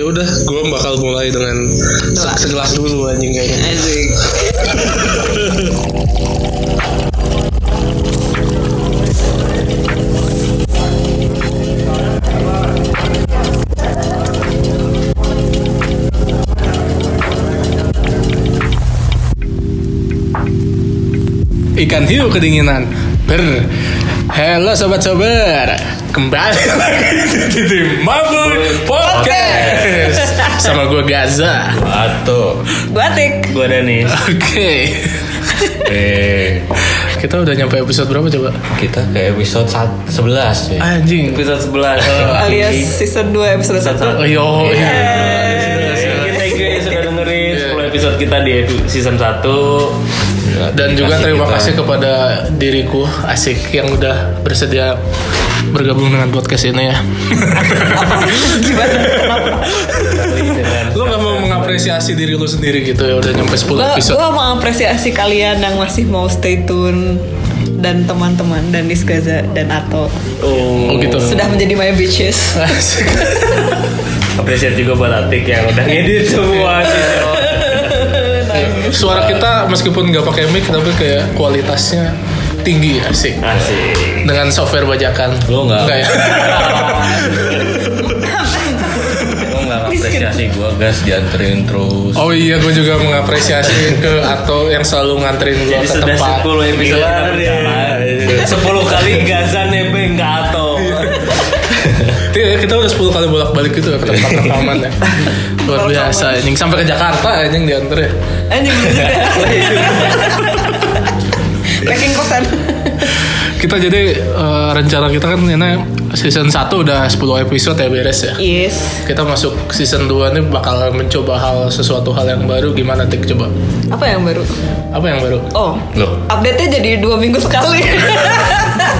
Ya udah gue bakal mulai dengan Doa. segelas dulu anjing kayaknya Asik. ikan hiu kedinginan ber halo sobat sober kembali lagi di Mabul Podcast sama gue Gaza Atau Batik. Gue Danis oke Eh kita udah nyampe episode berapa coba Kita ke episode sat- 11 ya Iya. anjing episode 11 Alias season 2 episode Eh, 1. oh, yo Thank you yang sudah Iya. dengerin 10 episode kita di edu- season 1 Iya, dan juga Kasih terima kita. kasih kepada diriku asik yang udah bersedia bergabung dengan podcast ini ya lo gak mau mengapresiasi diri lo sendiri gitu ya udah nyampe 10 episode Gue mau apresiasi kalian yang masih mau stay tune dan teman-teman dan Disgaza dan Ato Oh, oh gitu sudah menjadi my bitches. Asik. Apresiat juga buat Atik yang udah ngedit semua gitu. suara kita meskipun nggak pakai mic tapi kayak kualitasnya tinggi asik Asik dengan software bajakan Lo nggak- ya? Lo gak apresiasi gue Gas dianterin terus oh iya gue juga mengapresiasi ke Ato yang selalu nganterin gue Jadi ke sudah tempat Iya. 10 episode Gila, kita berjalan. 10 kali gazan nebeng ke Ato Iya, kita udah 10 kali bolak-balik gitu ya ke tempat rekaman ya. Luar biasa anjing sampai ke Jakarta anjing diantar ya. Anjing bener juga. Packing kosan. Kita jadi eh, rencana kita kan ini season 1 udah 10 episode ya beres ya. Yes. Kita masuk season 2 nih bakal mencoba hal sesuatu hal yang baru gimana Tik coba. Apa yang baru? Apa yang baru? Oh, Loh update-nya jadi dua minggu sekali.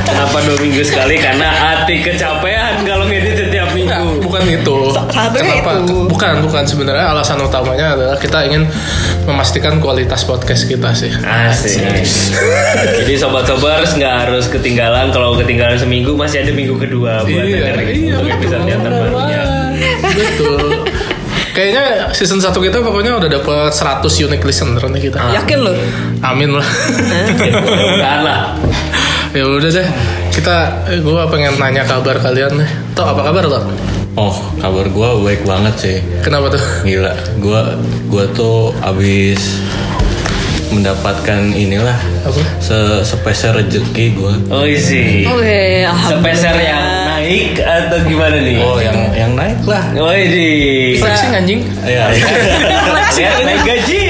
Kenapa 2 minggu sekali? Karena Atik kecapean kalau ngedit setiap Enggak, minggu bukan itu. Satunya itu. Bukan, bukan sebenarnya alasan utamanya adalah kita ingin memastikan kualitas podcast kita sih. Asik. Jadi sobat sobar nggak harus ketinggalan. Kalau ketinggalan seminggu masih ada minggu kedua buat Iya, dengerin iya, untuk episode yang terbarunya. Betul. Kayaknya season 1 kita pokoknya udah dapat 100 unique listener nih kita. Yakin loh. Amin lah. Mudah-mudahan lah. ya udah deh. Kita eh, gua pengen nanya kabar kalian nih. Tok apa kabar lo? Oh kabar gue baik banget sih Kenapa tuh? Gila Gue gua tuh abis Mendapatkan inilah Apa? se Sepeser rezeki gue Oh isi. Oke, Sepeser yang naik atau gimana nih? Oh yang yang naik lah Oh isi. Flexing Iya. anjing. Ya, Lihat naik gaji.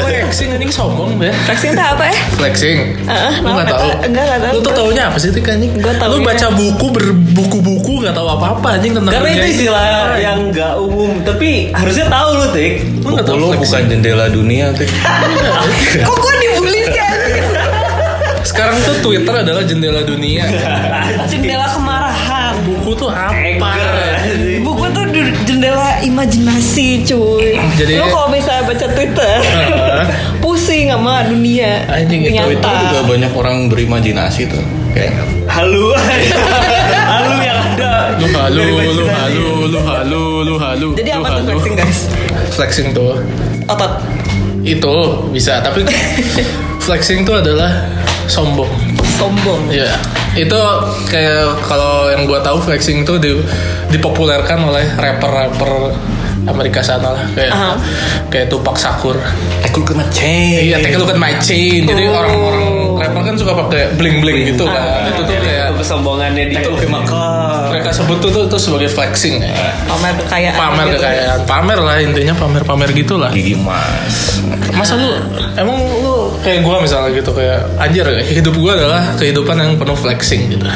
Flexing anjing sombong ya. Vaksin tak apa ya? Flexing. Heeh, lu maaf, nggak tahu. nggak- nggak, nggak tahu. Lu tuh taunya apa sih Tik, anjing? Gua Lu taunya- baca buku berbuku-buku nggak tahu apa-apa anjing tentang Karena itu dunia ini. istilah yang nggak umum, tapi harusnya tahu lu tik. Lu nggak tahu lu flexing. bukan jendela dunia tuh. Kok gue dibully sih anjing? Sekarang tuh Twitter adalah jendela dunia. Jendela kemarahan. Buku tuh apa? Buku tuh du- jendela imajinasi cuy Jadi- Lu kalau misalnya baca Twitter Heeh. Pusing sama dunia Anjing, itu- nyata. Itu juga banyak orang berimajinasi tuh. Kayak Halu, halu yang ada. lu halu lu halu lu halu lu halu Jadi lu apa tuh halu. flexing guys? flexing tuh Otot itu bisa tapi flexing tuh adalah sombong Sombong ya itu kayak kalau yang gua tahu flexing tuh di- dipopulerkan oleh rapper-rapper Amerika sana lah kayak Aha. kayak Tupac Sakur aku Eh, kena ceng. iya take a look at my chain jadi Oh. Ah, orang-orang rapper kan suka pakai bling-bling gitu kan itu iya, tuh kayak Kesombongannya di mereka sebut tuh tuh, tuh sebagai flexing Ah, ya. Pamer kekayaan pamer gitu. kekayaan pamer lah intinya pamer pamer gitulah Gigi mas. masa lu emang lu kayak gua misalnya gitu kayak anjir hidup gua adalah kehidupan yang penuh flexing gitu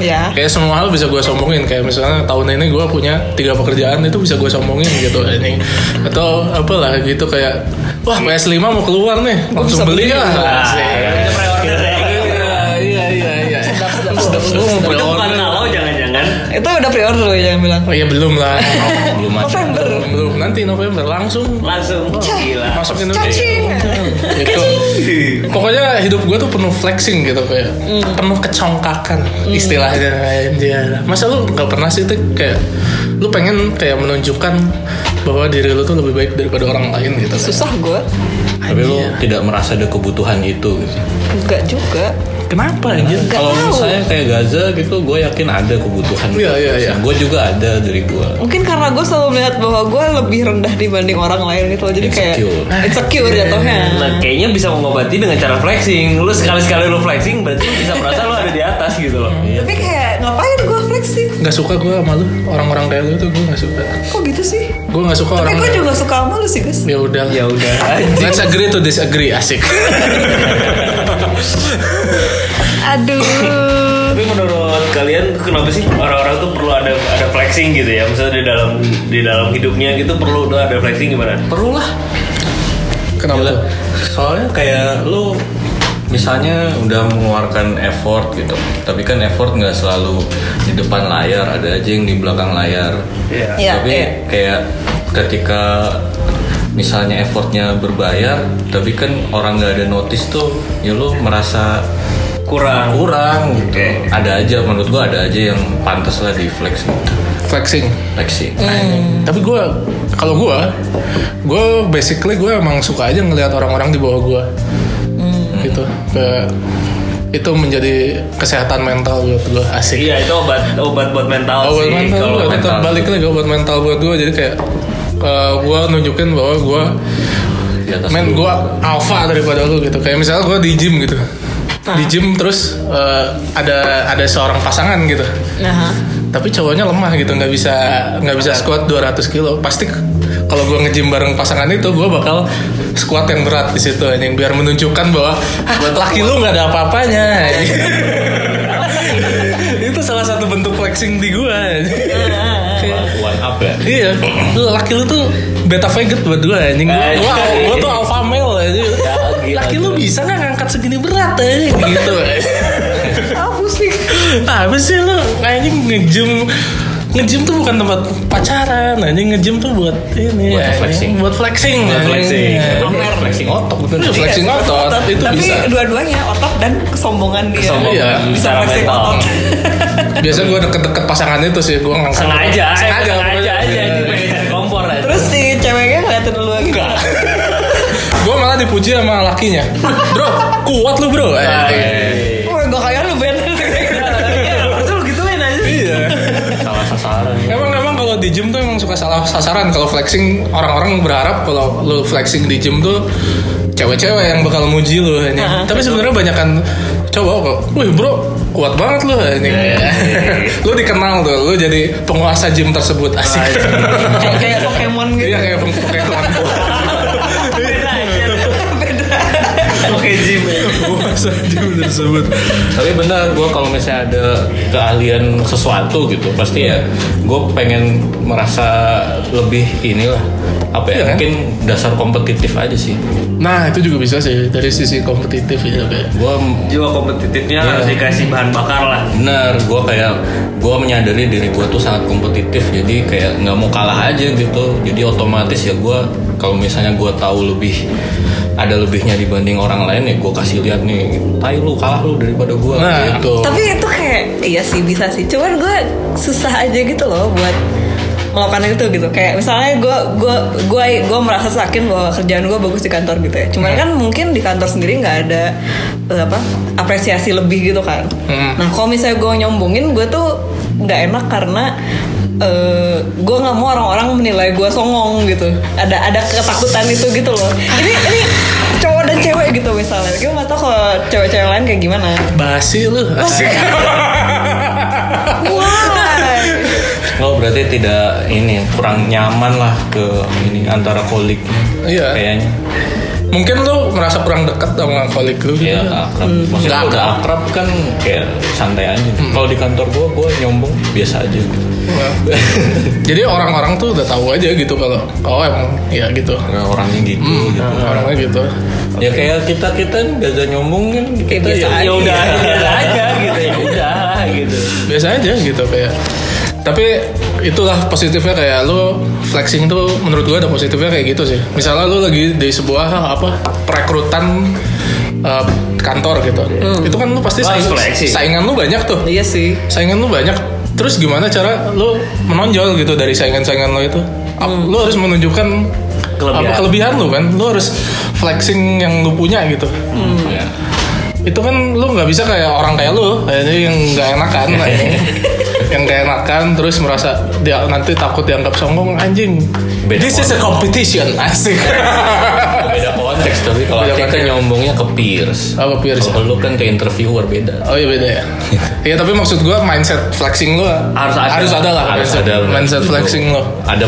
Ya kayak semua hal bisa gua sombongin kayak misalnya tahun ini gua punya tiga pekerjaan itu bisa gua sombongin gitu ini atau apalah gitu kayak wah PS5 mau keluar nih langsung bisa beli lah Ah. Asik. iya iya iya Sedap, sedap. Udah bukan Pre-order. kalau jangan-jangan Itu udah pre-order loh jangan bilang Oh iya belum lah Belum ada. November belum belum. nanti November langsung langsung oh, gila. masuk Indonesia Cacing Gitu. Pokoknya hidup gue tuh penuh flexing gitu kayak penuh kecongkakan istilahnya anjir. Masa lu nggak pernah sih tuh kayak lu pengen kayak menunjukkan bahwa diri lu tuh lebih baik daripada orang lain gitu kan. susah gue Tapi lu tidak merasa ada kebutuhan itu gitu. enggak juga Kenapa anjir? Nggak Kalau tahu. misalnya kayak Gaza gitu, gue yakin ada kebutuhan. Iya, iya, iya. Gue juga ada dari gue. mungkin karena gue selalu melihat bahwa gue lebih rendah dibanding orang lain gitu loh. jadi kayak Insecure. insecure Iya, jatuhnya Nah, kayaknya bisa mengobati dengan cara flexing. Lu sekali-sekali lu flexing berarti lu bisa merasa lu ada di atas gitu loh. tapi kayak ngapain gue flexing Gak suka gue sama lu orang-orang kayak lu tuh gue gak suka. kok gitu sih Gue gak suka tapi orang. gue juga suka sama lu sih guys Ya udah. Ya udah. Let's agree to disagree asik. aduh Tapi menurut kalian kenapa sih orang-orang tuh perlu ada ada flexing gitu ya? Misalnya di dalam di dalam hidupnya gitu perlu tuh ada flexing gimana? Perlu lah. Kenapa? Gila. tuh? Soalnya kayak lu misalnya udah mengeluarkan effort gitu, tapi kan effort nggak selalu di depan layar, ada aja yang di belakang layar. Iya. Iya, tapi iya. kayak ketika misalnya effortnya berbayar, tapi kan orang nggak ada notice tuh, ya lu merasa Kurang. kurang gitu. Ada aja menurut gua ada aja yang pantas lah di flex gitu. Flexing. Flexing. Tapi gue kalau gue, gue basically gue emang suka aja ngelihat orang-orang di bawah gue. Hmm. Gitu. Ke itu menjadi kesehatan mental buat gue asik. Iya, itu obat obat buat mental Obat sih. mental Kalau gue tetap mental. balik lagi obat mental buat gue jadi kayak eh, gue nunjukin bahwa gue Di atas men dulu. gue alpha daripada lu gitu kayak misalnya gue di gym gitu di gym terus eh, ada ada seorang pasangan gitu nah tapi cowoknya lemah gitu nggak bisa nggak bisa squat 200 kilo pasti k- kalau gue nge-gym bareng pasangan itu gue bakal squat yang berat di situ anjing biar menunjukkan bahwa "Ah, laki lu nggak ada apa-apanya itu salah satu bentuk flexing di gue One up ya. Iya, lu laki lu tuh beta faggot buat gue anjing. Gua, Anjing. gua, gua tuh alpha male anjing. Laki lu bisa nggak ngangkat segini berat anjing gitu. apa sih Nah, apa sih lu anjing nge-gym Nge-gym tuh bukan tempat pacaran, anjing nge-gym tuh buat ini Buat anjing. flexing. buat flexing, Buat anjing. flexing. Iya. Flexing otot bener. Iya, flexing otot itu tapi bisa. dua-duanya otot dan kesombongan dia Kesombongan Iya. bisa secara flexing mental. otot Biasa gue deket-deket pasangan itu sih, gue ngangkat. Sengaja, eh, sengaja, Iya. sengaja aja ini pengen cari kompor aja. terus si ceweknya ngeliatin lu gitu. lagi Gue malah dipuji sama lakinya. Bro, kuat lu Nah, bro. Eh, iya, Anjing. wah gue kayak lu Ben Iya, Terus lu gituin aja. Salah sasaran. Emang emang kalau di gym tuh emang suka salah sasaran kalau flexing orang-orang berharap kalau lu flexing di gym tuh cewek-cewek yang bakal muji lu ini. Tapi sebenarnya banyakan cowok kok. Wih bro, kuat banget lu ini. lu dikenal tuh, lu jadi penguasa gym tersebut asik. kayak kayak Pokemon gitu Iya kayak peng- kayak pengangkut. Oke, Jim. penguasa gym tersebut. tapi bener gue kalau misalnya ada keahlian sesuatu gitu pasti ya gue pengen merasa lebih inilah apa ya Iya kan? mungkin dasar kompetitif aja sih Nah itu juga bisa sih dari sisi kompetitif ya kayak. gue Jiwa kompetitifnya Iya. harus dikasih bahan bakar lah. bener gue kayak gue menyadari diri gue tuh sangat kompetitif jadi kayak nggak mau kalah aja gitu jadi otomatis ya gue kalau misalnya gue tahu lebih ada lebihnya dibanding orang lain ya gue kasih lihat nih tai lu kalah lu daripada gue Nah, gitu tapi itu kayak iya sih bisa sih cuman gue susah aja gitu loh buat melakukan itu gitu kayak misalnya gue gue gue gue merasa yakin bahwa kerjaan gue bagus di kantor gitu ya cuman kan mungkin di kantor sendiri nggak ada eh, apa apresiasi lebih gitu kan Hmm. nah kalau misalnya gue nyombongin gue tuh nggak enak karena eh, gue nggak mau orang-orang menilai gue songong gitu ada ada ketakutan itu gitu loh ini ini cowok dan cewek gitu misalnya gue nggak tahu kalau cewek-cewek lain kayak gimana Basi lu asik. Why? Oh berarti tidak ini kurang nyaman lah ke ini antara kolik Iya. kayaknya Mungkin lu merasa kurang dekat sama kolik lu. gitu. ya akrab maksudnya Nggak kalau udah akrab. Hmm. akrab kan kayak santai aja kalau di kantor gua gua nyombong biasa aja Nah, Jadi orang-orang tuh udah tahu aja gitu kalau oh emang ya gitu. Nggak orangnya gitu gitu Orangnya gitu. ya kayak kita kita nih gak ada nyombong kan Kayak gitu. kita biasa ya, aja. Iya. Ya udah, biasa aja gitu ya. Udah gitu. Biasa aja gitu kayak. Tapi itulah positifnya kayak lu flexing tuh menurut gua ada positifnya kayak gitu sih. Misalnya lu lagi di sebuah apa perekrutan eh, kantor gitu. Itu kan lu pasti Wah, saing- flexing. saingan lu banyak tuh. Iya sih. Saingan lu banyak. Terus gimana cara lu menonjol gitu dari saingan-saingan lu itu? Ap- Lu harus menunjukkan Kelebihan. apa kelebihan lu kan. Lu harus flexing yang lu punya gitu. Ya. Itu kan lu nggak bisa kayak orang kayak lu, kayaknya yang nggak enakan. yang kayak enakan terus merasa dia nanti takut dianggap sombong anjing. Beda This is a competition asik. beda konteks tapi kalau Beda Ati kan konteks. nyombongnya ke peers Apa peers? kalau lu kan ke interviewer beda Oh iya beda ya. Iya tapi maksud gua mindset flexing lu Harus ada. harus ada lah harus mindset, ada mindset gitu. flexing lo. ada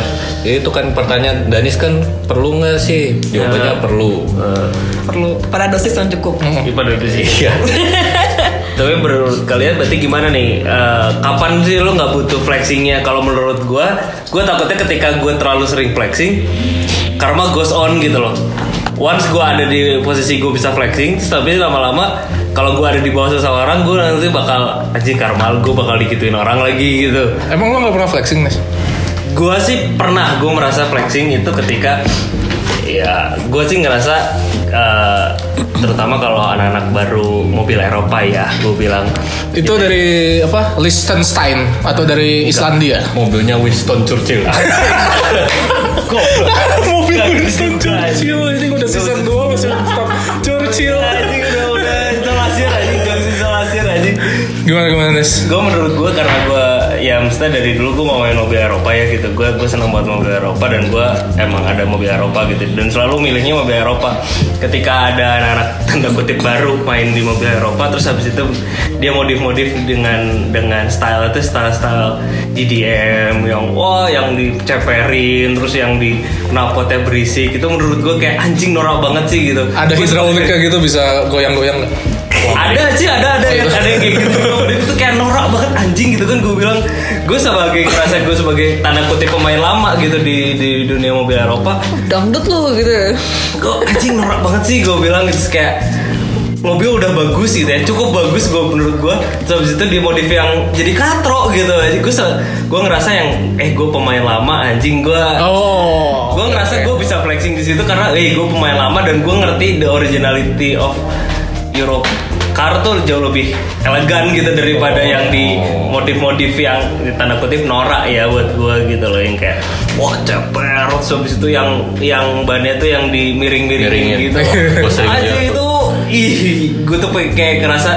itu kan pertanyaan Danis kan perlu nggak sih jawabannya Ya. perlu Eh. perlu pada dosis yang cukup Ini pada itu sih. iya Tapi menurut kalian berarti gimana nih? Eh, kapan sih lo nggak butuh flexingnya? Kalau menurut gua, gua takutnya ketika gua terlalu sering flexing, karma goes on gitu loh. Once gua ada di posisi gua bisa flexing, terus tapi lama-lama kalau gua ada di bawah seseorang, gua nanti bakal anjing karma gua bakal dikituin orang lagi gitu. Emang lo nggak pernah flexing Nes? Gua sih pernah gue merasa flexing itu ketika ya gue sih ngerasa eh, terutama kalau anak-anak baru mobil Eropa ya gue bilang Itu dari apa? Liechtenstein atau dari Islandia? mobilnya Winston Churchill Mobil Nggak, nggak. ini udah season 2 masih stop Churchill. anjing udah udah isolasir anjing gak bisa isolasir anjing Gimana gimana Nes? gue menurut gue karena gue ya maksudnya dari dulu gue ngomongin mobil Eropa ya gitu gue gue seneng banget mobil Eropa dan gue emang ada mobil Eropa gitu dan selalu milihnya mobil Eropa ketika ada anak-anak tanda kutip baru main di mobil Eropa terus habis itu dia modif-modif dengan dengan style itu style style EDM yang wah yang diceperin terus yang di knalpotnya berisik itu menurut gue kayak anjing norak banget sih gitu Ada hidrauliknya gitu bisa goyang-goyang nggak? ada sih ada ada yang ada yang kayak gitu itu tuh kayak norak banget anjing gitu kan gue bilang gue sebagai ngerasa gue sebagai tanda kutip pemain lama gitu di di dunia mobil Eropa dangdut lu gitu gue anjing norak banget sih gue bilang it's kayak mobil udah bagus gitu ya cukup bagus gue menurut gue terus habis itu dia modif yang jadi katro gitu gue gue ngerasa yang eh gue pemain lama anjing gue Oh. gue ngerasa gue bisa flexing di situ karena eh gue pemain lama dan gue ngerti the originality of Europe car tuh jauh lebih elegan gitu daripada yang di Oh. modif-modif yang di tanda kutip norak ya buat gue gitu loh yang kayak wah ceper terus habis itu yang yang bannya tuh yang Miringin. dimiring-miringin gitu Gua sering aja lihat itu ih gue tuh kayak ngerasa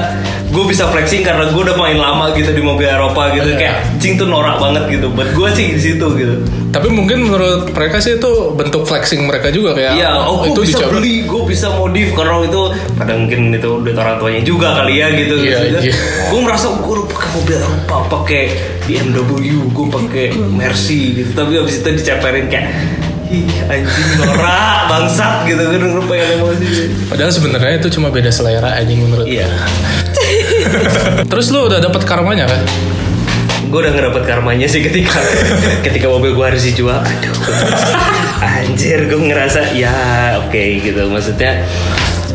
gue bisa flexing karena gue udah main lama gitu di mobil Eropa gitu kayak jing tuh norak banget gitu buat gue sih di situ gitu Tapi mungkin menurut mereka sih itu bentuk flexing mereka juga kayak Iya, oh gue itu bisa dicoba. beli, gue bisa modif karena itu pada mungkin itu duit orang tuanya juga kali ya gitu. Iya, iya. Gue merasa gue udah pakai mobil apa, pakai BMW, gue pakai Mercy gitu. Tapi abis itu diceperin kayak Ih, anjing norak bangsat gitu kan gue pengen emosi Padahal sebenarnya itu cuma beda selera anjing menurut. iya Terus lu udah dapat karmanya kan? gue udah ngedapat karmanya sih ketika ketika mobil gue harus dijual aduh anjir gue ngerasa ya oke gitu maksudnya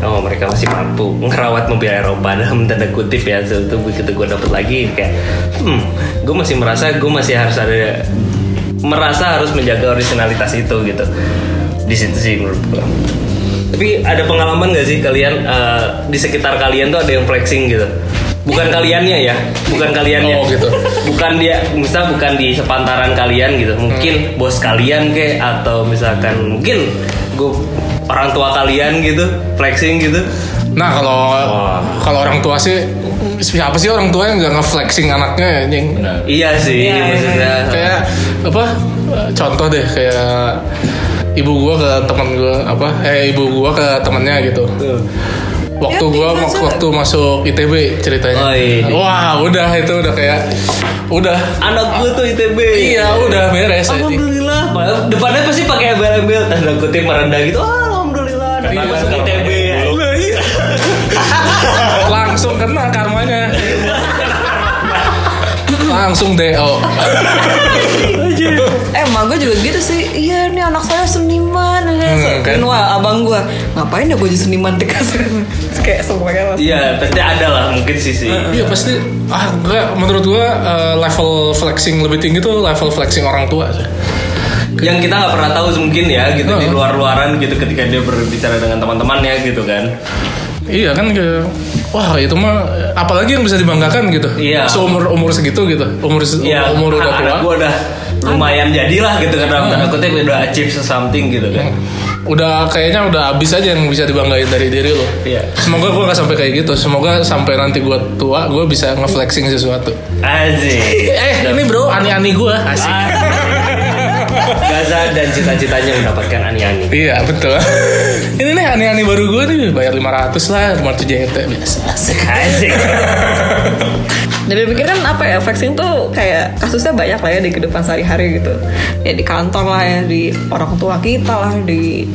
oh mereka masih mampu ngerawat mobil Eropa dalam tanda kutip ya itu begitu gue dapet lagi kayak hmm gue masih merasa gue masih harus ada merasa harus menjaga originalitas itu gitu di situ sih menurut gue tapi ada pengalaman gak sih kalian eh, di sekitar kalian tuh ada yang flexing gitu bukan kaliannya ya bukan kaliannya Oh, gitu. bukan dia misal bukan di sepantaran kalian gitu Hmm. mungkin bos kalian ke atau misalkan mungkin gue orang tua kalian gitu flexing gitu Nah kalau kalau orang tua sih siapa sih orang tua yang nggak nge-flexing anaknya ya, anjing? Benar. iya sih Iya, iya, maksudnya Kayak apa? eh, Contoh deh kayak ibu gua ke teman gua apa? Eh ibu gua ke temannya gitu. Waktu Ya, gua tinggal mak- sana. waktu masuk ITB ceritanya. Oh, iya. Wah, udah itu udah kayak udah anak gue tuh ITB Iya, udah beres anjing. alhamdulillah Padahal depannya pasti pakai embel-embel tanda kutip merendah gitu "Ah, alhamdulillah dia masuk ITB Iya, langsung kena karmanya langsung oh. DO eh emak gue juga gitu sih iya nih anak saya seniman Hmm, kan? Meanwhile, abang gue ngapain ya gue jadi seniman dikasih kayak semuanya langsung iya pasti ada lah mungkin sisi iya pasti ah enggak menurut gua eh, level flexing lebih tinggi tuh level flexing orang tua sih yang kita nggak pernah tahu mungkin ya gitu di Oh. luar-luaran gitu ketika dia berbicara dengan teman-temannya gitu kan iya kan kayak wah itu mah apalagi yang bisa dibanggakan gitu Iya. seumur umur segitu gitu umur ya umur udah anak tua Hmm. gue udah lumayan jadilah gitu kan dalam tanda kutip udah achieve something gitu kan udah kayaknya udah abis aja yang bisa dibanggain dari diri lo. Iya. Semoga gue nggak sampai kayak gitu. Semoga sampai nanti gue tua gue bisa ngeflexing sesuatu. Asik Eh ini bro ani-ani gue asik. Gaza dan cita-citanya mendapatkan ani-ani Iya betul. ini nih ani-ani baru gue nih bayar 500 lah 500 JT ya, biasa. Asik. Asik Dan dia pikir kan apa ya flexing tuh kayak kasusnya banyak lah ya di kehidupan sehari-hari gitu. Ya di kantor lah ya, di orang tua kita lah, di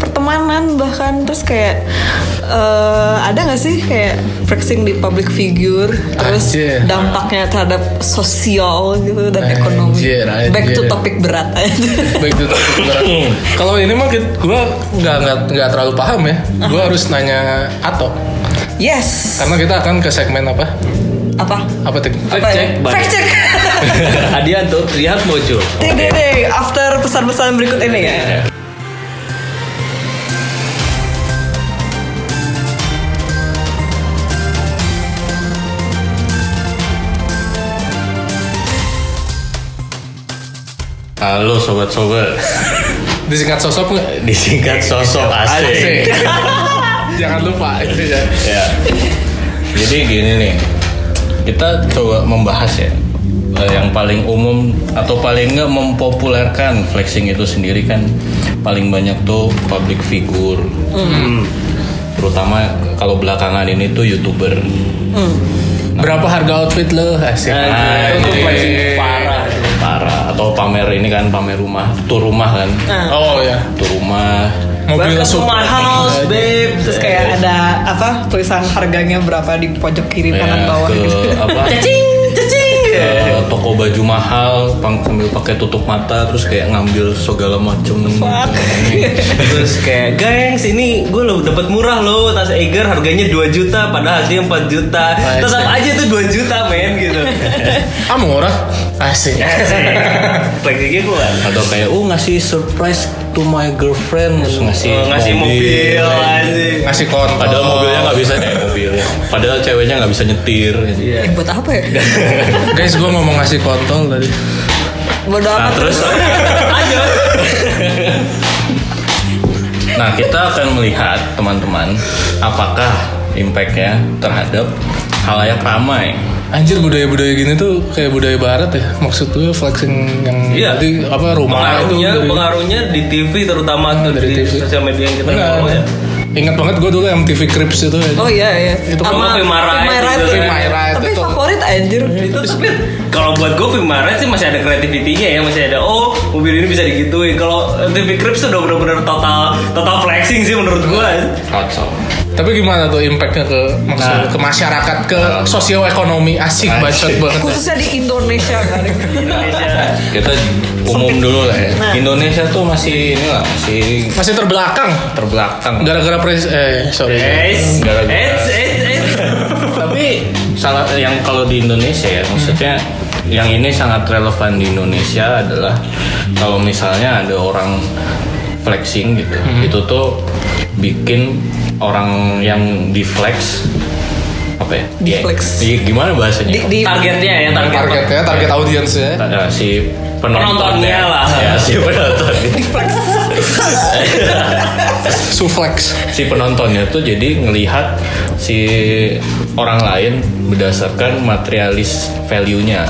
pertemanan bahkan terus kayak eh, ada nggak sih kayak flexing di public figure terus Anjir. dampaknya terhadap sosial gitu dan ekonomi. Anjir, anjir. Back to topik berat aja. Baik itu Hmm. Kalau ini mah gue nggak nggak nggak terlalu paham ya. Gue harus nanya Ato yes. karena kita akan ke segmen apa? Apa? Apa Eh, tuh? Apa ya? check, Bang. Fact check. Adianto Trihat Mojo Ding, ding, ding. After pesan-pesan berikut ini ya. Halo sobat-sobat, Disingkat sosok nggak? disingkat sosok asik. Asik. Jangan lupa itu ya. Ya. Jadi gini nih, kita coba membahas ya eh, yang paling umum atau paling nggak mempopulerkan flexing itu sendiri kan paling banyak tuh public figure, terutama kalau belakangan ini tuh youtuber. Berapa harga outfit lo? Asik. Eh, Nah, itu Anjing. iya. flexing ya. parah Parah atau pamer ini kan pamer rumah, tuh rumah kan, Oh ya. tuh rumah. Mobil Welcome to super. my Iya, house, babe. Terus kayak ada apa tulisan harganya berapa di pojok kiri kanan ya, bawah ke gitu. apa? Iya, Cacing, cacing. Iya. Eh, ke toko baju mahal pang sambil pakai tutup mata terus kayak ngambil segala macem Fuck. Terus kayak Gengs ini gue lo dapet murah loh Tas Eiger harganya 2 juta Padahal harganya 4 juta Tetap aja tuh 2 juta men gitu Ah murah. Asik. Flexingnya kuat atau kayak oh ngasih surprise to my girlfriend terus ngasih, Oh, Ngasih mobil, Oh. asik Ngasih konto. padahal mobilnya nggak bisa eh, mobilnya padahal ceweknya nggak bisa nyetir Iya. Eh, buat apa ya? Guys, gue ngomong ngasih kontol tadi. Bodo nah amat terus Ayo nah kita akan melihat teman-teman apakah impactnya terhadap halayak ramai Anjir budaya-budaya gini tuh kayak budaya barat ya. Maksud gue flexing yang Iya. tadi apa rumah itu pengaruhnya dari- Hmm, pengaruhnya di TV terutama tuh dari di TV. sosial media yang kita Benar. ngomong ya Ingat banget gue dulu MTV Cribs itu. ya. Oh iya iya. Itu kalau Vimara itu, itu. Vimara itu Tapi tuh. favorit anjir. itu tapi kalau buat gue film Maret sih masih ada kreativitinya ya masih ada oh mobil ini bisa digituin kalau TV Crips udah bener-bener total total flexing sih menurut gue kacau Tapi gimana tuh impactnya ke maksud Nah. ke masyarakat, ke sosioekonomi asik Asik. bacot banget. Khususnya di Indonesia kan. Indonesia kita umum dulu lah ya Indonesia tuh masih ini lah masih Masih terbelakang terbelakang gara-gara pres eh sorry. Eits, Gara-gara. eits, eits, eits. tapi salah yang kalau di Indonesia ya maksudnya yang ini sangat relevan di Indonesia adalah kalau misalnya ada orang flexing gitu itu tuh bikin orang yang di flex apa ya Di Ya, flex. di- gimana bahasanya Di, di targetnya ya target Targetnya, target ya. audiensnya. Ada si penontonnya, Penontonnya lah. ya si penonton Suflex. si penontonnya tuh jadi ngelihat si orang lain berdasarkan materialis value-nya.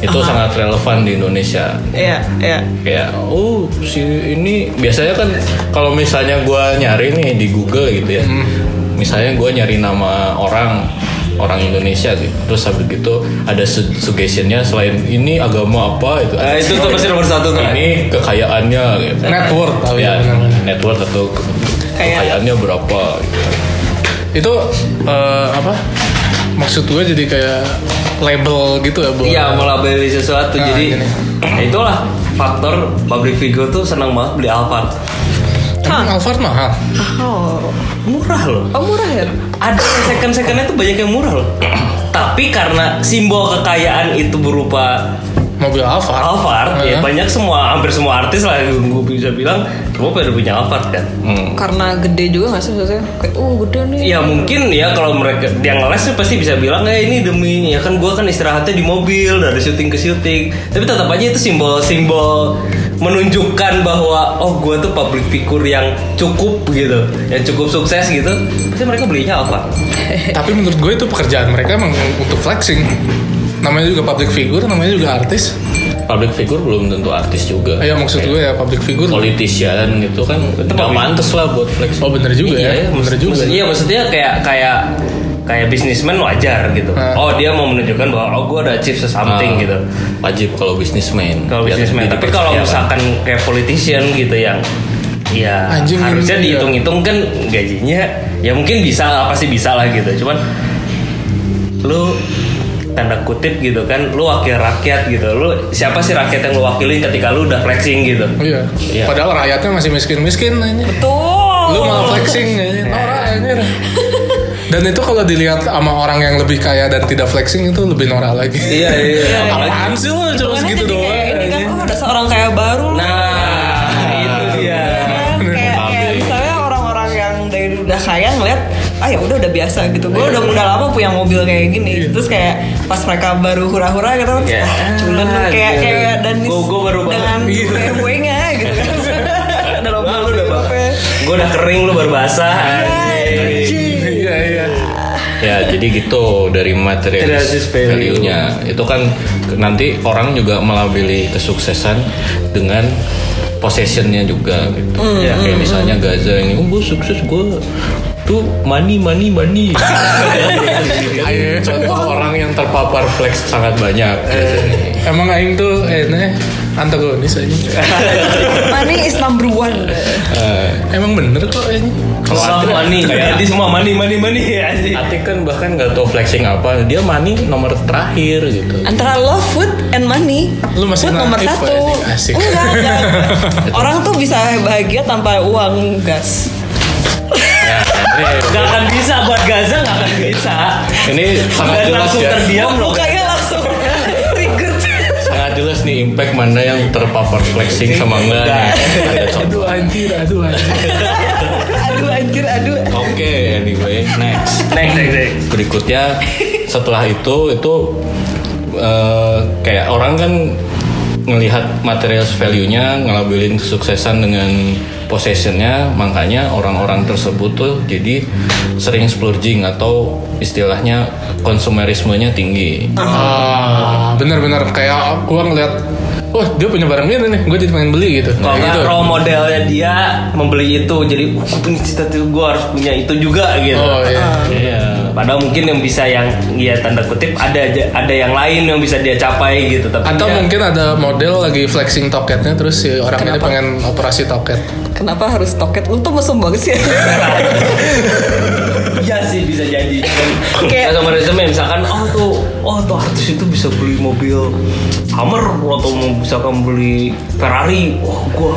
Itu sangat relevan di Indonesia. Iya, iya. Kayak, oh si ini biasanya kan kalau misalnya gua nyari nih di Google gitu ya. Misalnya gua nyari nama orang orang Indonesia gitu. Terus habis gitu ada su- suggestionnya selain ini agama apa itu. Eh, itu tuh pasti nomor satu tuh Ini kekayaannya gitu. Network tahu ya. ya, benar-benar. network atau ke- Kayak- kekayaannya berapa gitu. Itu eh, apa? Maksud gue jadi kayak label gitu ya, Bu. Iya mau beli sesuatu Nah, jadi gini. ya itulah faktor public figure tuh senang banget beli Alphard Emang Alphard mahal. Oh, murah loh oh murah ya. ada yang second secondnya tuh banyak yang murah loh tapi karena simbol kekayaan itu berupa mobil Alphard. Alphard ya banyak semua hampir semua artis lah yang gue bisa bilang semua pada punya Alphard kan Hmm. Karena gede juga nggak sih maksudnya? Kayak, oh gede nih. ya mungkin ya kalau mereka yang ngeles sih pasti bisa bilang ya ini demi ya kan gue kan istirahatnya di mobil dari syuting ke syuting tapi tetap aja itu simbol simbol menunjukkan bahwa oh gue tuh public figure yang cukup gitu yang cukup sukses gitu pasti mereka belinya Alphard Tapi menurut gue itu pekerjaan mereka emang untuk flexing. Namanya juga public figure, namanya juga artis. public figure belum tentu artis juga Ya maksud gue ya public figure. politician itu kan nggak pantas lah buat flex Oh bener juga ya, bener maksud- juga. maksud- iya maksudnya kayak kayak kayak bisnismen wajar gitu. Ah. Oh dia mau menunjukkan bahwa oh gue ada achieve something Ah, gitu. wajib kalau bisnismen Kalau Iya, Biar bisnismen. Tapi dipercaya, kalau kan. misalkan kayak politician gitu yang ya Anjing, ini, iya. harusnya dihitung-hitung kan gajinya ya mungkin bisa lah pasti bisa lah gitu. Cuman lu tanda kutip gitu kan lu wakil rakyat gitu lu siapa sih rakyat yang lu wakilin ketika lu udah flexing gitu Iya. Iya. Padahal rakyatnya masih miskin-miskin aja. Tuh. Lu malah flexing aja. Norak anjir. Dan itu kalau dilihat sama orang yang lebih kaya dan tidak flexing itu lebih norak lagi. iya iya Apaan sih lu cuma Karena segitu jadi doang. kayak ini kan, anjing. oh ada seorang kayak baru. loh. nah itu dia Kan, kayak kayak misalnya orang-orang yang dari dulu udah kaya ngeliat ah ya udah udah biasa gitu gue udah udah lama punya mobil kayak gini terus kayak pas mereka baru hura-hura gitu Iya. yeah. ah, cuman Ah, kayak gitu. kayak dan Gua- gua baru banget. dengan Iya. BMW-nya gitu kan dalam ya. Wah, lu udah mobil. basah. Gue udah kering lu baru basah. anjing. Iya iya. ya jadi gitu dari materialis Materialistis value. value-nya itu kan ke- nanti orang juga melabeli kesuksesan dengan possession-nya juga gitu Hmm, ya, kayak misalnya Gaza ini oh gue sukses gue tuh money money money Ayo, contoh orang yang terpapar flex sangat banyak Emang aing tuh eh nah, antagonis aja. money is number one Eh, Emang bener kok ini. Kalau Semua ada- mani, kayak- jadi semua mani, mani, mani anjing. Atik kan bahkan nggak tahu flexing apa dia money nomor terakhir gitu antara love food and money Lu masih food nomor naif, satu Pak, ini asik. enggak enggak. orang tuh bisa bahagia tanpa uang gas ya, ini, Gak akan bisa buat Gaza, gak akan bisa. ini sangat Dan jelas langsung ya terdiam loh. mukanya langsung trigger sangat jelas nih impact mana yang terpapar flexing sama enggak nih. Ada contoh. Aduh anjir, aduh anjir. aduh anjir aduh Oke, anyway, next. Next, next, next. Berikutnya setelah itu itu eh, kayak orang kan ngelihat material value-nya, ngelabelin kesuksesan dengan possession-nya, makanya orang-orang tersebut tuh jadi sering splurging atau istilahnya konsumerismenya tinggi. Ah, bener-bener kayak gua ngeliat, wah dia punya barang ini nih, gua jadi pengen beli gitu. Kayak Kalau nggak gitu. role modelnya dia membeli itu, jadi "Oh, gue punya cita-cita gue harus punya itu juga gitu. Oh iya. Iya. Padahal mungkin yang bisa yang ya tanda kutip ada aja ada yang lain yang bisa dia capai gitu. Tapi Atau dia- mungkin ada model lagi flexing toketnya terus si orang ini pengen operasi toket. Kenapa harus toket? Lu tuh mesum banget sih. Iya sih bisa jadi. Kayak- Kayak sama resume misalkan oh tuh oh tuh artis itu bisa beli mobil Hammer atau mau misalkan beli Ferrari. Wah gua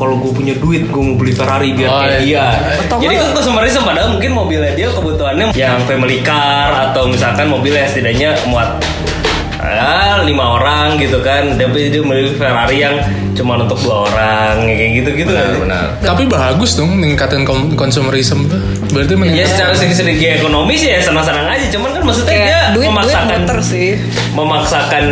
kalau gue punya duit gue mau beli Ferrari biar Oh, iya. kayak dia. Atau Jadi nggak- kan consumerism padahal mungkin mobilnya dia kebutuhannya yang family car atau misalkan mobilnya yang setidaknya muat ah, lima orang gitu kan tapi dia beli Ferrari yang cuma untuk dua orang kayak gitu gitu Benar, benar. Tapi bagus dong ningkatin kon- consumerism tuh. Berarti Ya meningkat. secara segi segi ekonomi sih ya senang-senang aja, cuman kan maksudnya dia Kayak Iya, duit duit memaksakan muter sih. memaksakan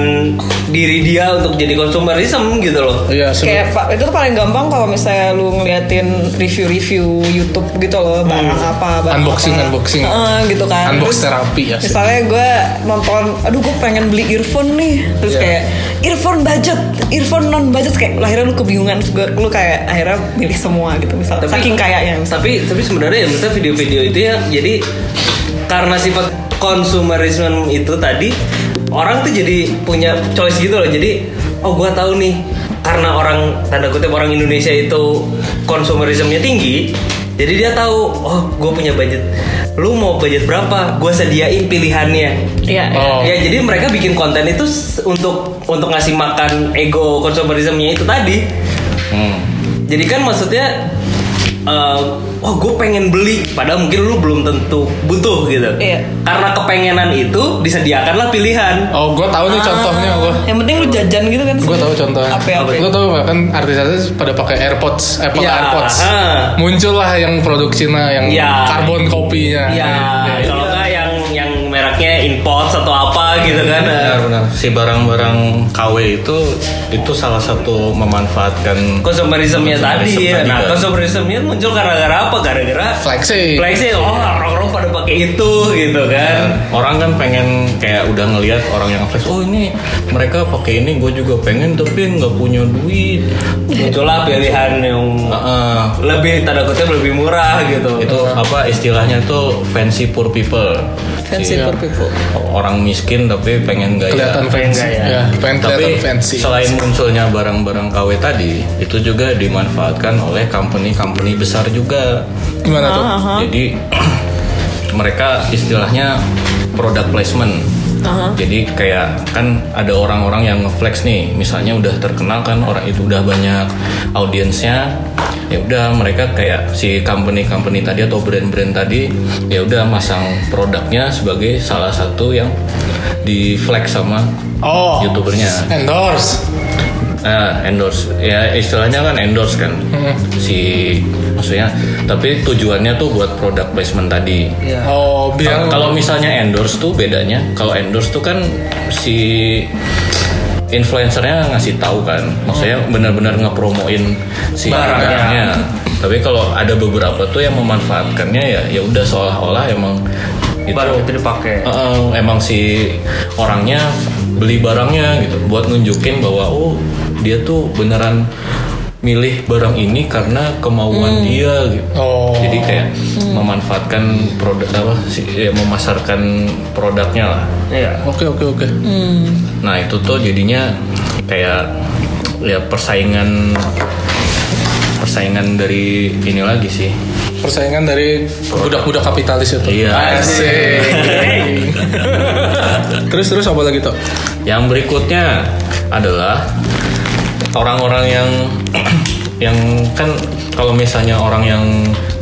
diri dia untuk jadi konsumerism gitu loh. Iya, seru. Kayak Pak, itu tuh paling gampang kalau misalnya lu ngeliatin review-review YouTube gitu loh, barang apa, Hmm. barang Unboxing, apa. unboxing. Heeh, gitu kan. Unbox Terus, terapi ya. sih. Misalnya gue nonton, aduh gue pengen beli earphone nih, terus Iya. kayak earphone budget, earphone non budget kayak akhirnya lu kebingungan, Terus gua- lu kayak akhirnya milih semua gitu misalnya. Tapi- Saking kayaknya misalnya. Tapi tapi sebenarnya ya maksudnya video-video itu ya jadi karena sifat konsumerisme itu tadi orang tuh jadi punya choice gitu loh. Jadi oh gua tahu nih karena orang tanda kutip orang Indonesia itu konsumerismenya tinggi. Jadi dia tahu, oh gue punya budget. Lu mau budget berapa? Gue sediain pilihannya. Iya. Oh. Ya jadi mereka bikin konten itu s- untuk untuk ngasih makan ego konsumerismenya itu tadi. Hmm. Jadi kan maksudnya eh, wah gue pengen beli padahal mungkin lu belum tentu butuh gitu Iya. karena kepengenan itu disediakanlah pilihan Oh, gue tahu nih contohnya gue. Ah, Yang penting lu jajan gitu kan. Gue tahu contohnya. Apa apa. ya? Gue tahu kan artis-artis pada pakai AirPods, Apple Ya, AirPods. ah. Muncullah yang produk Cina yang Ya. karbon kopinya. Iya, ya kalau nggak yang yang mereknya import atau apa gitu kan eh. benar-benar Iya, si barang-barang KW itu itu salah satu memanfaatkan konsumerismenya Konsumerism tadi ya. tadi Nah, kan. konsumerismenya muncul gara-gara apa? Gara-gara Flexing. flexing. Oh, orang-orang pada pakai itu gitu kan. orang kan pengen kayak udah ngelihat orang yang flex oh ini mereka pakai ini gue juga pengen tapi nggak punya duit Muncullah pilihan yang Heeh. lebih tanda kutip lebih murah gitu. itu apa istilahnya tuh fancy poor people Fancy Si Iya. poor people. orang miskin tapi pengen gaya Kelihatan fancy. enggak ya. Ya, pengen kelihatan tapi fancy. selain munculnya barang-barang KW tadi itu juga dimanfaatkan oleh company-company besar juga Gimana tuh? Ah. jadi mereka istilahnya product placement. Jadi kayak kan ada orang-orang yang ngeflex nih, misalnya udah terkenal kan orang itu udah banyak audiensnya, ya udah mereka kayak si company-company tadi atau brand-brand tadi, ya udah masang produknya sebagai salah satu yang di flex sama Oh. youtubernya. Endorse. Nah, endorse ya istilahnya kan endorse kan si maksudnya tapi tujuannya tuh buat product placement tadi Oh, Iya. biar kalau misalnya endorse tuh bedanya kalau endorse tuh kan si influencernya ngasih tahu kan maksudnya benar-benar ngepromoin si Barangnya. barangnya tapi kalau ada beberapa tuh yang memanfaatkannya ya ya udah seolah-olah emang itu Baru itu dipakai. Uh, emang si orangnya beli barangnya gitu buat nunjukin bahwa oh dia tuh beneran milih barang ini karena kemauan dia gitu. Oh. Jadi kayak memanfaatkan produk apa sih ya, memasarkan produknya lah. Iya. Oke, oke, oke. Hmm. Nah, itu tuh jadinya kayak ya persaingan persaingan dari ini lagi sih. Persaingan dari budak-budak kapitalis itu. Iya. Asik. terus terus apa lagi tuh? Yang berikutnya adalah orang-orang yang yang kan kalau misalnya orang yang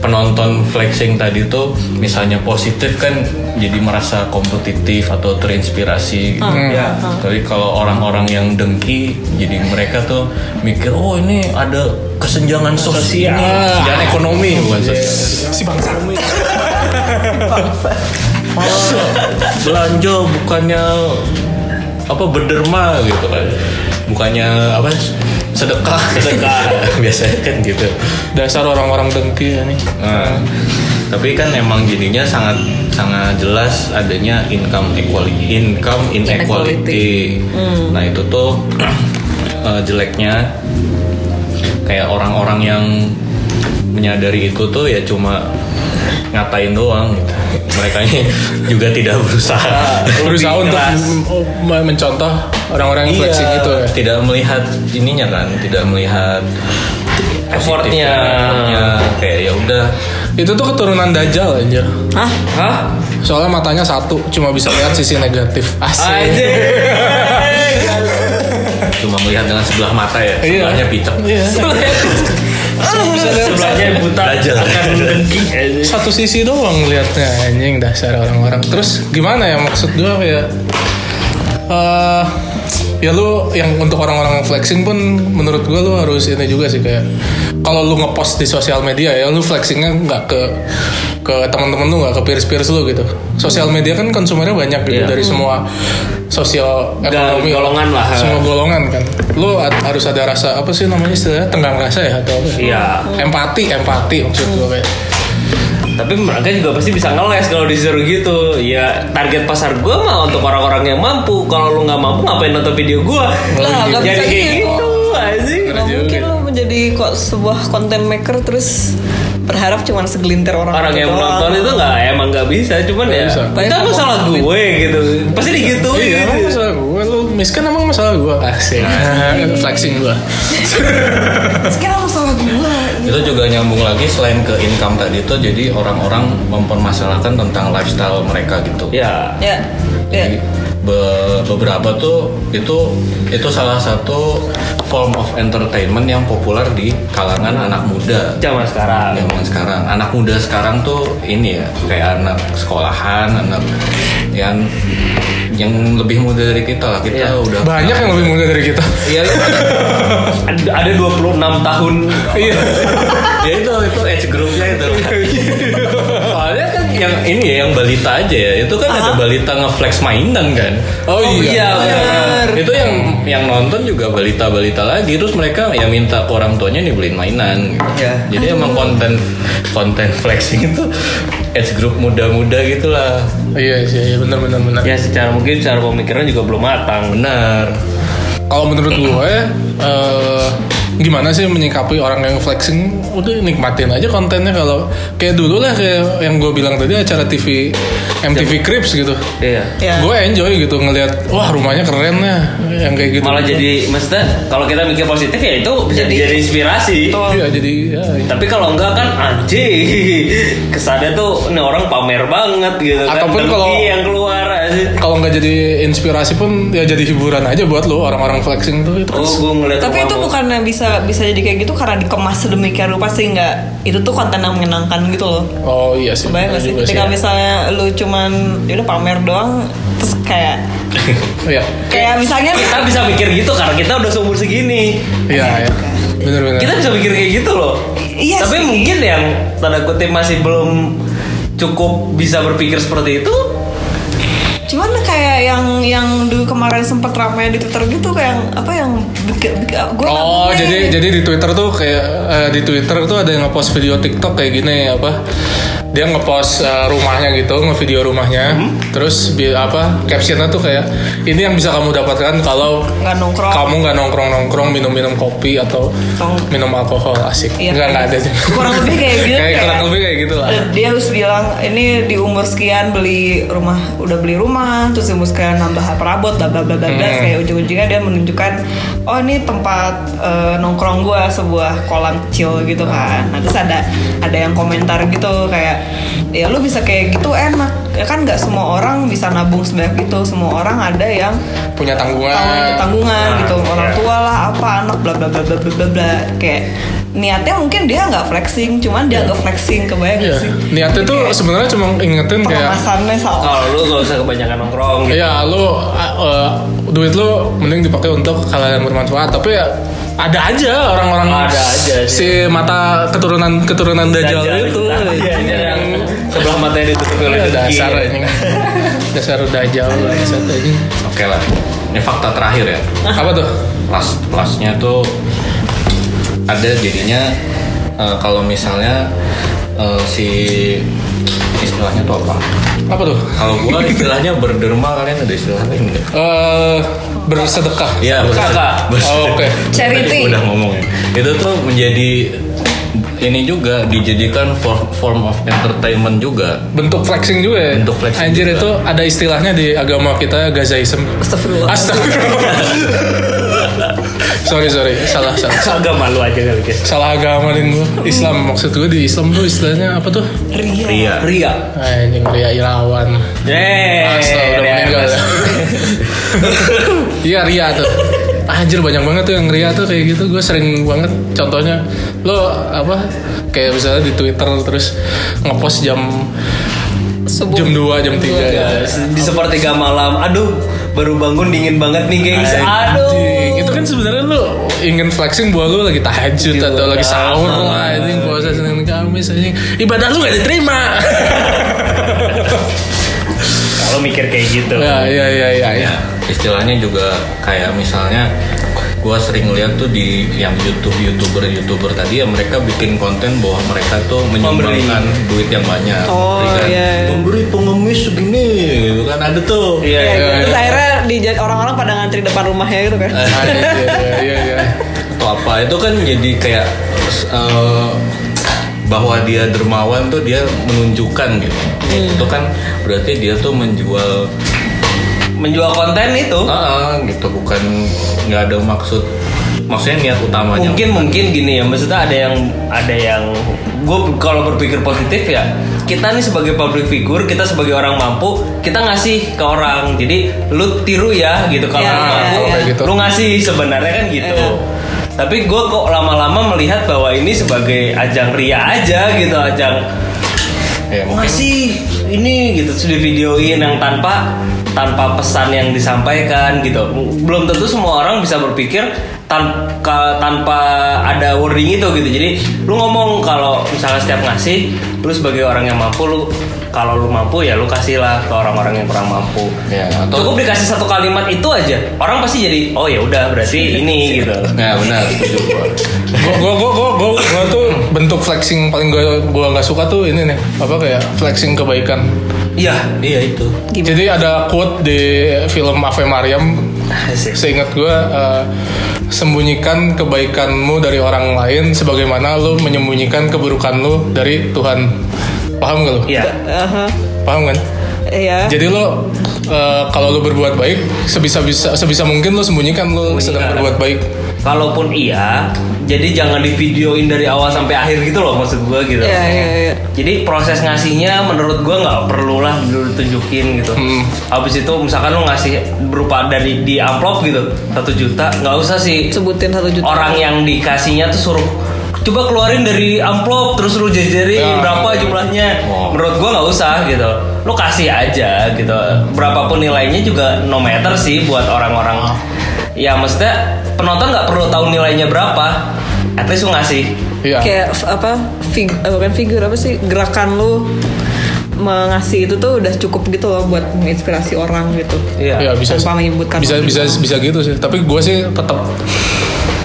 penonton flexing tadi tuh misalnya positif kan jadi merasa kompetitif atau terinspirasi gitu. Ya. Tapi kalau orang-orang yang dengki jadi mereka tuh mikir oh ini ada kesenjangan sosial, kesenjangan ekonomi bukan sosial. Si bangsa. Oh. belanja bukannya apa berderma gitu kan bukannya apa sedekah sedekah biasanya kan gitu Dasar orang-orang dengki ya nih. nah, tapi kan emang jadinya sangat sangat jelas adanya income equality income inequality nah itu tuh eh, jeleknya kayak orang-orang yang menyadari itu tuh ya cuma ngatain doang gitu. mereka ini juga tidak berusaha Berusaha Lebih untuk keras. Iya. m- mencontoh orang-orang yang flexing itu ya. tidak melihat ininya kan tidak melihat Effortnya. ya, effortnya. kayak ya udah Itu tuh keturunan dajal aja. Hah? Hah? Soalnya matanya satu, cuma bisa lihat sisi negatif. Aja. Asik. cuma melihat dengan sebelah mata ya Iya. sebelahnya picek Iya. Bisa lihat Sebelahnya buta Dajjal. akan dengki. anjing. satu sisi doang liatnya anjing dasar orang-orang. Terus gimana ya maksud gua kayak eh ya lu yang untuk orang-orang yang flexing pun menurut gua lu harus ini juga sih kayak kalau lu ngepost di sosial media ya lu flexingnya nggak ke ke teman-teman lu nggak ke peers-peers lu gitu. Sosial media kan konsumernya banyak gitu dari semua sosial Gal- ekonomi Iya. golongan lah. Semua golongan kan. Lu at- harus ada rasa apa sih namanya istilahnya tenggang rasa ya atau apa? ya? Iya. Empati, empati maksud gua kayak. Tapi mereka juga pasti bisa ngeles kalau disuruh gitu. Ya target pasar gue mah untuk orang-orang yang mampu. Kalau lu nggak mampu ngapain nonton video gue? Lah, nggak Jadi bisa kayak gitu. gitu anjing. Nggak mungkin lo menjadi kok sebuah content maker terus berharap cuman segelintir orang orang yang doang. menonton itu nggak emang nggak bisa cuman Nggak ya bisa. itu masalah gue gitu pasti digituin Iya, emang masalah gue. Lu miskin emang masalah gue. Asik. Flexing gue. Sekarang masalah gue. itu juga nyambung lagi selain ke income tadi itu jadi orang-orang mempermasalahkan tentang lifestyle mereka gitu ya Ya. Ya. Jadi, be- beberapa tuh itu itu salah satu form of entertainment yang populer di kalangan anak muda Zaman sekarang. zaman sekarang anak muda sekarang tuh ini ya kayak anak sekolahan anak yang yang lebih muda dari kita lah kita Iya. udah gitu. Banyak yang lebih muda dari kita. Iya, Ada ada 26 tahun. Iya. ya itu itu age groupnya itu soalnya kan yang ini ya yang balita aja ya itu kan ada balita ngeflex mainan kan Oh, iya. benar. itu yang yang nonton juga balita balita lagi terus mereka ya minta ke orang tuanya nih beliin mainan gitu. Iya. jadi emang konten konten flexing itu age group muda-muda gitulah Iya sih, iya, benar benar benar. Ya secara mungkin secara pemikiran juga belum matang. benar Kalau menurut gue eh, gimana sih menyikapi orang yang flexing? Udah nikmatin aja kontennya kalau kayak dulu lah kayak yang gue bilang tadi acara TV MTV Cribs gitu. Iya. Ya. Gue enjoy gitu ngelihat wah rumahnya keren ya yang kayak gitu. Malah jadi maksudnya kalau kita mikir positif ya itu bisa jadi, Jadi- inspirasi. Iya jadi ya, Tapi kalau enggak kan anjing. Kesannya tuh ini orang pamer banget gitu kan. Ataupun Dengki kalau- yang keluar anjing. Oh, kalau nggak jadi inspirasi pun ya jadi hiburan aja buat lo orang-orang flexing tuh itu kan Oh, gue ngeliat Tapi rumah itu lo. bukannya bisa bisa jadi kayak gitu karena dikemas sedemikian rupa sehingga itu tuh konten yang menyenangkan gitu loh. Oh iya sih. Kebayang bener gak sih? juga Ketika ya. misalnya lu cuman yaudah pamer doang terus kayak Iya. kayak misalnya kita bisa mikir gitu karena kita udah seumur segini. Iya, iya. Bener-bener. Kita bisa mikir kayak gitu loh. I- iya Tapi sih. mungkin yang tanda kutip masih belum cukup bisa berpikir seperti itu. cuman kayak yang yang dulu kemarin sempet ramai di Twitter gitu kayak yang- apa yang bikin gue Oh, jadi jadi di Twitter tuh kayak eh, di Twitter tuh ada yang ngepost video TikTok kayak gini apa? Dia ngepost eh, rumahnya gitu, ngevideo rumahnya. Hmm. Terus bi- apa? Captionnya tuh kayak ini yang bisa kamu dapatkan kalau nggak nongkrong kamu nggak nongkrong nongkrong minum minum kopi atau Atau- minum alkohol asik. Iya, nggak nggak ada sih. kurang lebih kayak gitu Iya. kayak kayak- kurang lebih kayak gitu lah. Dan Eh, dia harus bilang ini di umur sekian beli rumah udah beli rumah terus di umur sekian nambah perabot bla bla bla bla Hmm. bla. kayak ujung-ujungnya dia menunjukkan oh ini tempat eh, nongkrong gua sebuah kolam kecil gitu kan nah, terus ada ada yang komentar gitu kayak ya lu bisa kayak gitu enak ya kan nggak semua orang bisa nabung sebanyak itu semua orang ada yang Punya tanggungan. tanggung- tanggungan Nah, gitu orang iya. tua lah apa anak bla bla bla bla bla bla bla kayak niatnya mungkin dia nggak flexing cuman dia nggak flexing Iya. kebayang nggak sih Niatnya tuh Kayak sebenarnya cuma ingetin kayak Oh. pengemasannya salah Kalau lu gak usah kebanyakan nongkrong gitu. Iya, lu uh, uh, duit lu mending dipakai untuk hal-hal yang bermanfaat. Tapi ya ada aja orang-orang Ada aja sih. si mata keturunan keturunan dajjal itu. Iya, iya, yang sebelah matanya ditutup Ya, oleh dengki. dasar ini. dasar dajjal dasar ini. oke lah ini fakta terakhir ya Apa tuh? plus plusnya tuh ada jadinya eh, kalau misalnya eh, si istilahnya tuh apa Apa tuh? kalau gua istilahnya berderma kalian ada istilahnya enggak Eh bersedekah. Iya, betul. Kakak. Betul. Oh, oke. Charity. Tadi Udah ngomong ya. Itu tuh menjadi ini juga dijadikan for- form of entertainment juga. Bentuk flexing juga ya. Bentuk flexing Anjir juga. itu ada istilahnya di agama kita Gazaism. Astagfirullah. Astagfirullah. sorry sorry, salah salah. Agak malu aja kali guys. salah agama nih gua. Islam maksud gue di Islam tuh istilahnya apa tuh Ria. Ya. Ria. Ria. anjing Ria Irawan Yeay. Astaga udah Eh, Ria meninggal ya. Ernest. iya Ria tuh Ah, anjir banyak banget tuh yang Ria tuh kayak gitu gue sering banget contohnya lo apa kayak misalnya di Twitter terus ngepost jam Subuh. jam 2 jam 3 gitu Di sepertiga malam. Aduh, baru bangun dingin banget nih, gengs. Anjing, Aduh. itu kan sebenarnya lo ingin flexing bahwa lo lagi tahajud atau lagi sahur lah anjing puasa Senin Kamis anjing ibadah lo gak diterima Kalau mikir kayak gitu. ya ya ya ya, ya. Ya, istilahnya juga kayak misalnya gua sering lihat tuh di yang YouTube YouTuber YouTuber tadi ya mereka bikin konten bahwa mereka tuh menyumbangkan duit yang banyak. Oh, Berikan, iya. Pemberi pengemis segini gitu kan ada tuh. Iya, Kayak iya. gitu. Terus akhirnya dijad- orang-orang pada ngantri depan rumahnya gitu kan Ah, iya, iya, iya, iya. atau apa itu kan jadi kayak eh, bahwa dia dermawan tuh dia menunjukkan gitu Hmm. itu kan berarti dia tuh menjual Menjual konten itu. ah, gitu bukan nggak ada maksud maksudnya niat utamanya mungkin mungkin gini ya maksudnya ada yang ada yang gue kalau berpikir positif ya kita nih sebagai public figure kita sebagai orang mampu kita ngasih ke orang jadi lu tiru ya gitu kalau Iya, orang iya, mampu iya. Kayak gitu. lu ngasih sebenarnya kan gitu Iya. tapi gue kok lama-lama melihat bahwa ini sebagai ajang ria aja gitu ajang ya mungkin ngasih ini gitu sudah videoin yang tanpa tanpa pesan yang disampaikan gitu belum tentu semua orang bisa berpikir tanpa tanpa ada wording itu gitu jadi lu ngomong kalau misalnya setiap ngasih lu sebagai orang yang mampu lu kalau lu mampu ya lu kasihlah ke orang-orang yang kurang mampu ya atau cukup dikasih satu kalimat itu aja orang pasti jadi oh ya udah berarti ini gitu Nah benar setuju gua. gue gue gue gue gue tuh bentuk flexing paling gue gue nggak suka tuh ini nih apa kayak flexing kebaikan iya Iya itu. jadi ada quote di film Ave Mariam Asik. seingat gue eh, sembunyikan kebaikanmu dari orang lain sebagaimana lu menyembunyikan keburukan lu dari Tuhan paham gak lu iya Aha, paham kan Iya. jadi lo eh, kalau lo berbuat baik sebisa bisa sebisa mungkin lo sembunyikan lo sedang Sembunyikan. berbuat baik Kalaupun iya, jadi jangan di videoin dari awal sampai akhir gitu loh maksud gue gitu. Iya, iya, iya. Jadi proses ngasihnya menurut gue nggak perlu lah dulu tunjukin gitu. Hmm. Habis itu misalkan lo ngasih berupa dari di amplop gitu satu juta, nggak usah sih Sebutin satu juta. orang yang dikasihnya tuh suruh coba keluarin dari amplop terus lu jajarin Ya. berapa jumlahnya Wow. menurut gua nggak usah gitu lu kasih aja gitu berapapun nilainya juga no matter sih buat orang-orang ya maksudnya penonton nggak perlu tahu nilainya berapa at least lu ngasih iya kayak f- apa fig eh, bukan figur apa sih gerakan lu mengasih itu tuh udah cukup gitu loh buat menginspirasi orang gitu. Iya, bisa Tanpa menyebutkan bisa nama. bisa bisa gitu sih tapi gue sih tetap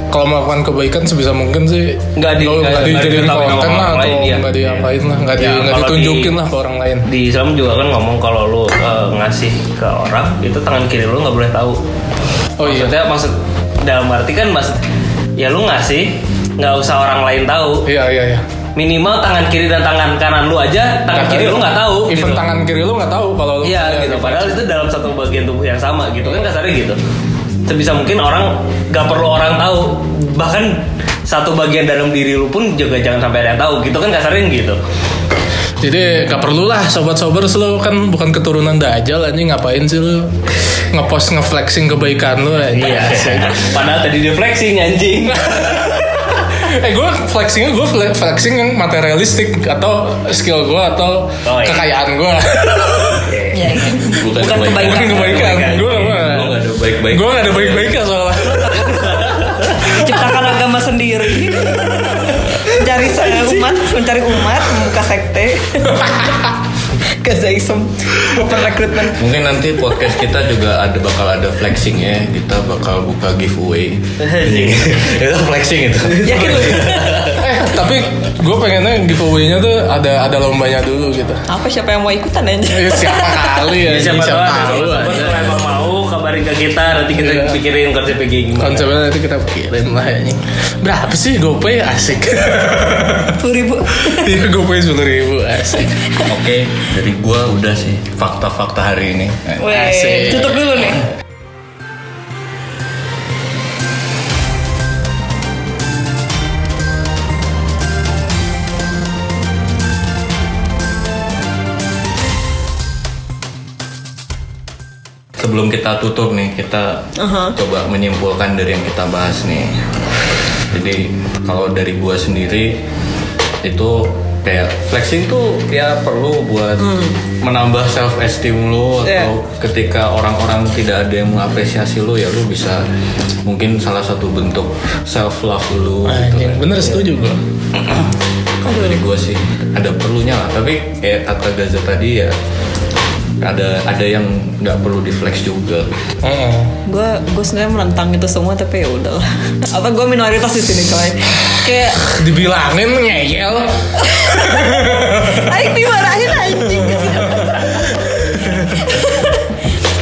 kalau melakukan kebaikan sebisa mungkin sih Nggak nggak- di- nggak- nggak nggak dijadiin diketahui konten sama lah orang atau lain, iya. nggak diapain lah nggak di- Ya, nggak kalau di- ditunjukin lah ke orang lain di Islam juga kan ngomong kalau lu eh, ngasih ke orang itu tangan kiri lu nggak boleh tahu oh iya maksudnya maksud dalam arti kan mas ya lu ngasih nggak usah orang lain tahu iya iya iya minimal tangan kiri dan tangan kanan lu aja tangan Nggak kiri tahu. lu nggak tahu even gitu. tangan kiri lu nggak tahu kalau lu iya gitu padahal itu dalam satu bagian tubuh yang sama gitu kan kasarnya gitu sebisa mungkin orang nggak perlu orang tahu bahkan satu bagian dalam diri lu pun juga jangan sampai ada yang tahu gitu kan kasarnya gitu Jadi gak perlu lah sobat sobers lo kan bukan keturunan dajal anjing ngapain sih lo ngepost ngeflexing kebaikan lo anjing. iya padahal tadi dia flexing anjing eh gue flexingnya gue fle- flexing yang materialistik atau skill gue atau Oh, iya. kekayaan gue. Iya, iya. Bukan, Bukan Bukan kebaikan. Gue Lo nggak ada baik-baik. gue gak ada baik-baiknya soalnya. Ciptakan agama sendiri. Mencari se- umat, mencari umat, membuka sekte. Gazaism, perekrutmen. Mungkin nanti podcast kita juga ada bakal ada flexing ya. Kita bakal buka giveaway. Iya, itu flexing itu. Yakin lu? eh tapi gue pengennya giveaway-nya tuh ada ada lombanya dulu gitu. Apa siapa yang mau ikutan aja? Eh, siapa kali ya? Iya, siapa tahu ada tahu sobat anjing. kalau emang mau kabarin ke kita nanti kita Iya. pikirin konsepnya kayak gimana Konsepnya nanti kita pikirin lah anjing. Berapa sih GoPay asik? Sepuluh ribu. Iya GoPay sepuluh ribu asik. Oke, dari gua udah sih fakta-fakta hari ini. Eh, Weh, Asik. tutup dulu nih. Sebelum kita tutup nih, kita coba menyimpulkan dari yang kita bahas nih. Jadi kalau dari gua sendiri itu kayak flexing tuh ya perlu buat menambah self esteem lu atau Iya. ketika orang-orang tidak ada yang mengapresiasi lu ya lu bisa mungkin salah satu bentuk self love lu gitu Anjing, kan. bener setuju gue. kalau dari gue sih ada perlunya lah tapi kayak kata Gaza tadi ya ada ada yang nggak perlu di flex juga gue gue sebenarnya menentang itu semua tapi ya udahlah apa gue minoritas di sini coy kayak Dibilangin ngeyel. Aik dimarahin anjing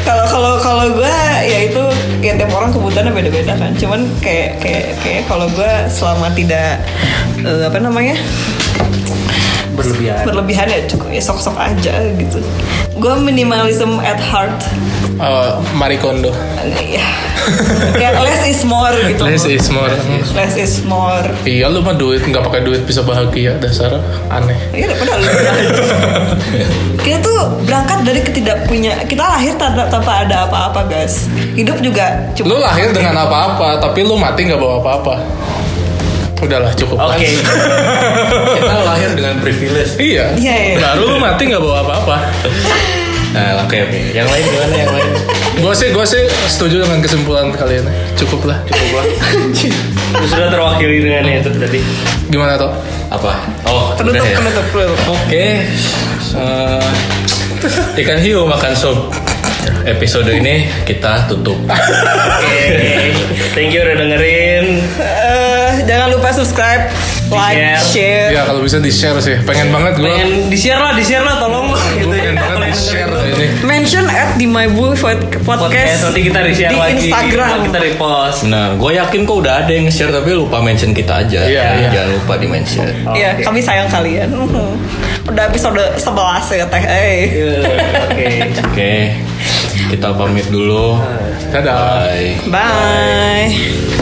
kalau kalau kalau gue ya itu ya tiap orang kebutuhannya beda-beda kan cuman kayak kayak kayak kalau gue selama tidak eh, apa namanya berlebihan. berlebihan ya cukup ya sok-sok aja gitu gue minimalism at heart Eh, Marie Kondo. ya kayak less is more gitu loh. Less is more. less is more Iya lu mah duit nggak pakai duit bisa bahagia dasar aneh. Iya, padahal lu kita tuh berangkat dari ketidakpunya kita lahir tanpa, tanpa ada apa-apa guys hidup juga Lu cuma lahir dengan apa-apa tapi lu mati nggak bawa apa-apa. Udahlah cukup. Oke. Kita lahir dengan privilege. Iya. Iya, iya. Baru lu mati nggak bawa apa-apa. Nah, oke oke. Yang lain gimana yang lain? Gue sih gue sih setuju dengan kesimpulan kalian. Cukup lah. Coba. Lu sudah terwakili dengan itu tadi. Gimana toh? Apa? Oh, penutup udah ya. penutup penutup. Oke, eh, ikan hiu makan sop. Episode ini kita tutup. Oke. Thank you udah dengerin. Eh, jangan lupa subscribe like share Iya kalau bisa di share sih. Pengen banget gue. Pengen di-share lah, di-share lah tolong lah gitu Gue ya. pengen banget Kalau di yang share dengerin tuh. ini. mention at di my Blue Pod- Podcast podcast nanti kita di-share di lagi. Instagram Kita repost. Nah, gue yakin kok udah ada yang nge-share tapi lupa mention kita aja. Ya, Iya, iya. Jangan lupa di mention. Iya, Oh, kami sayang kalian udah episode 11 ya teh eh. Iya, Oke. Oke, kita pamit dulu. Dadah. Iya. Bye. bye.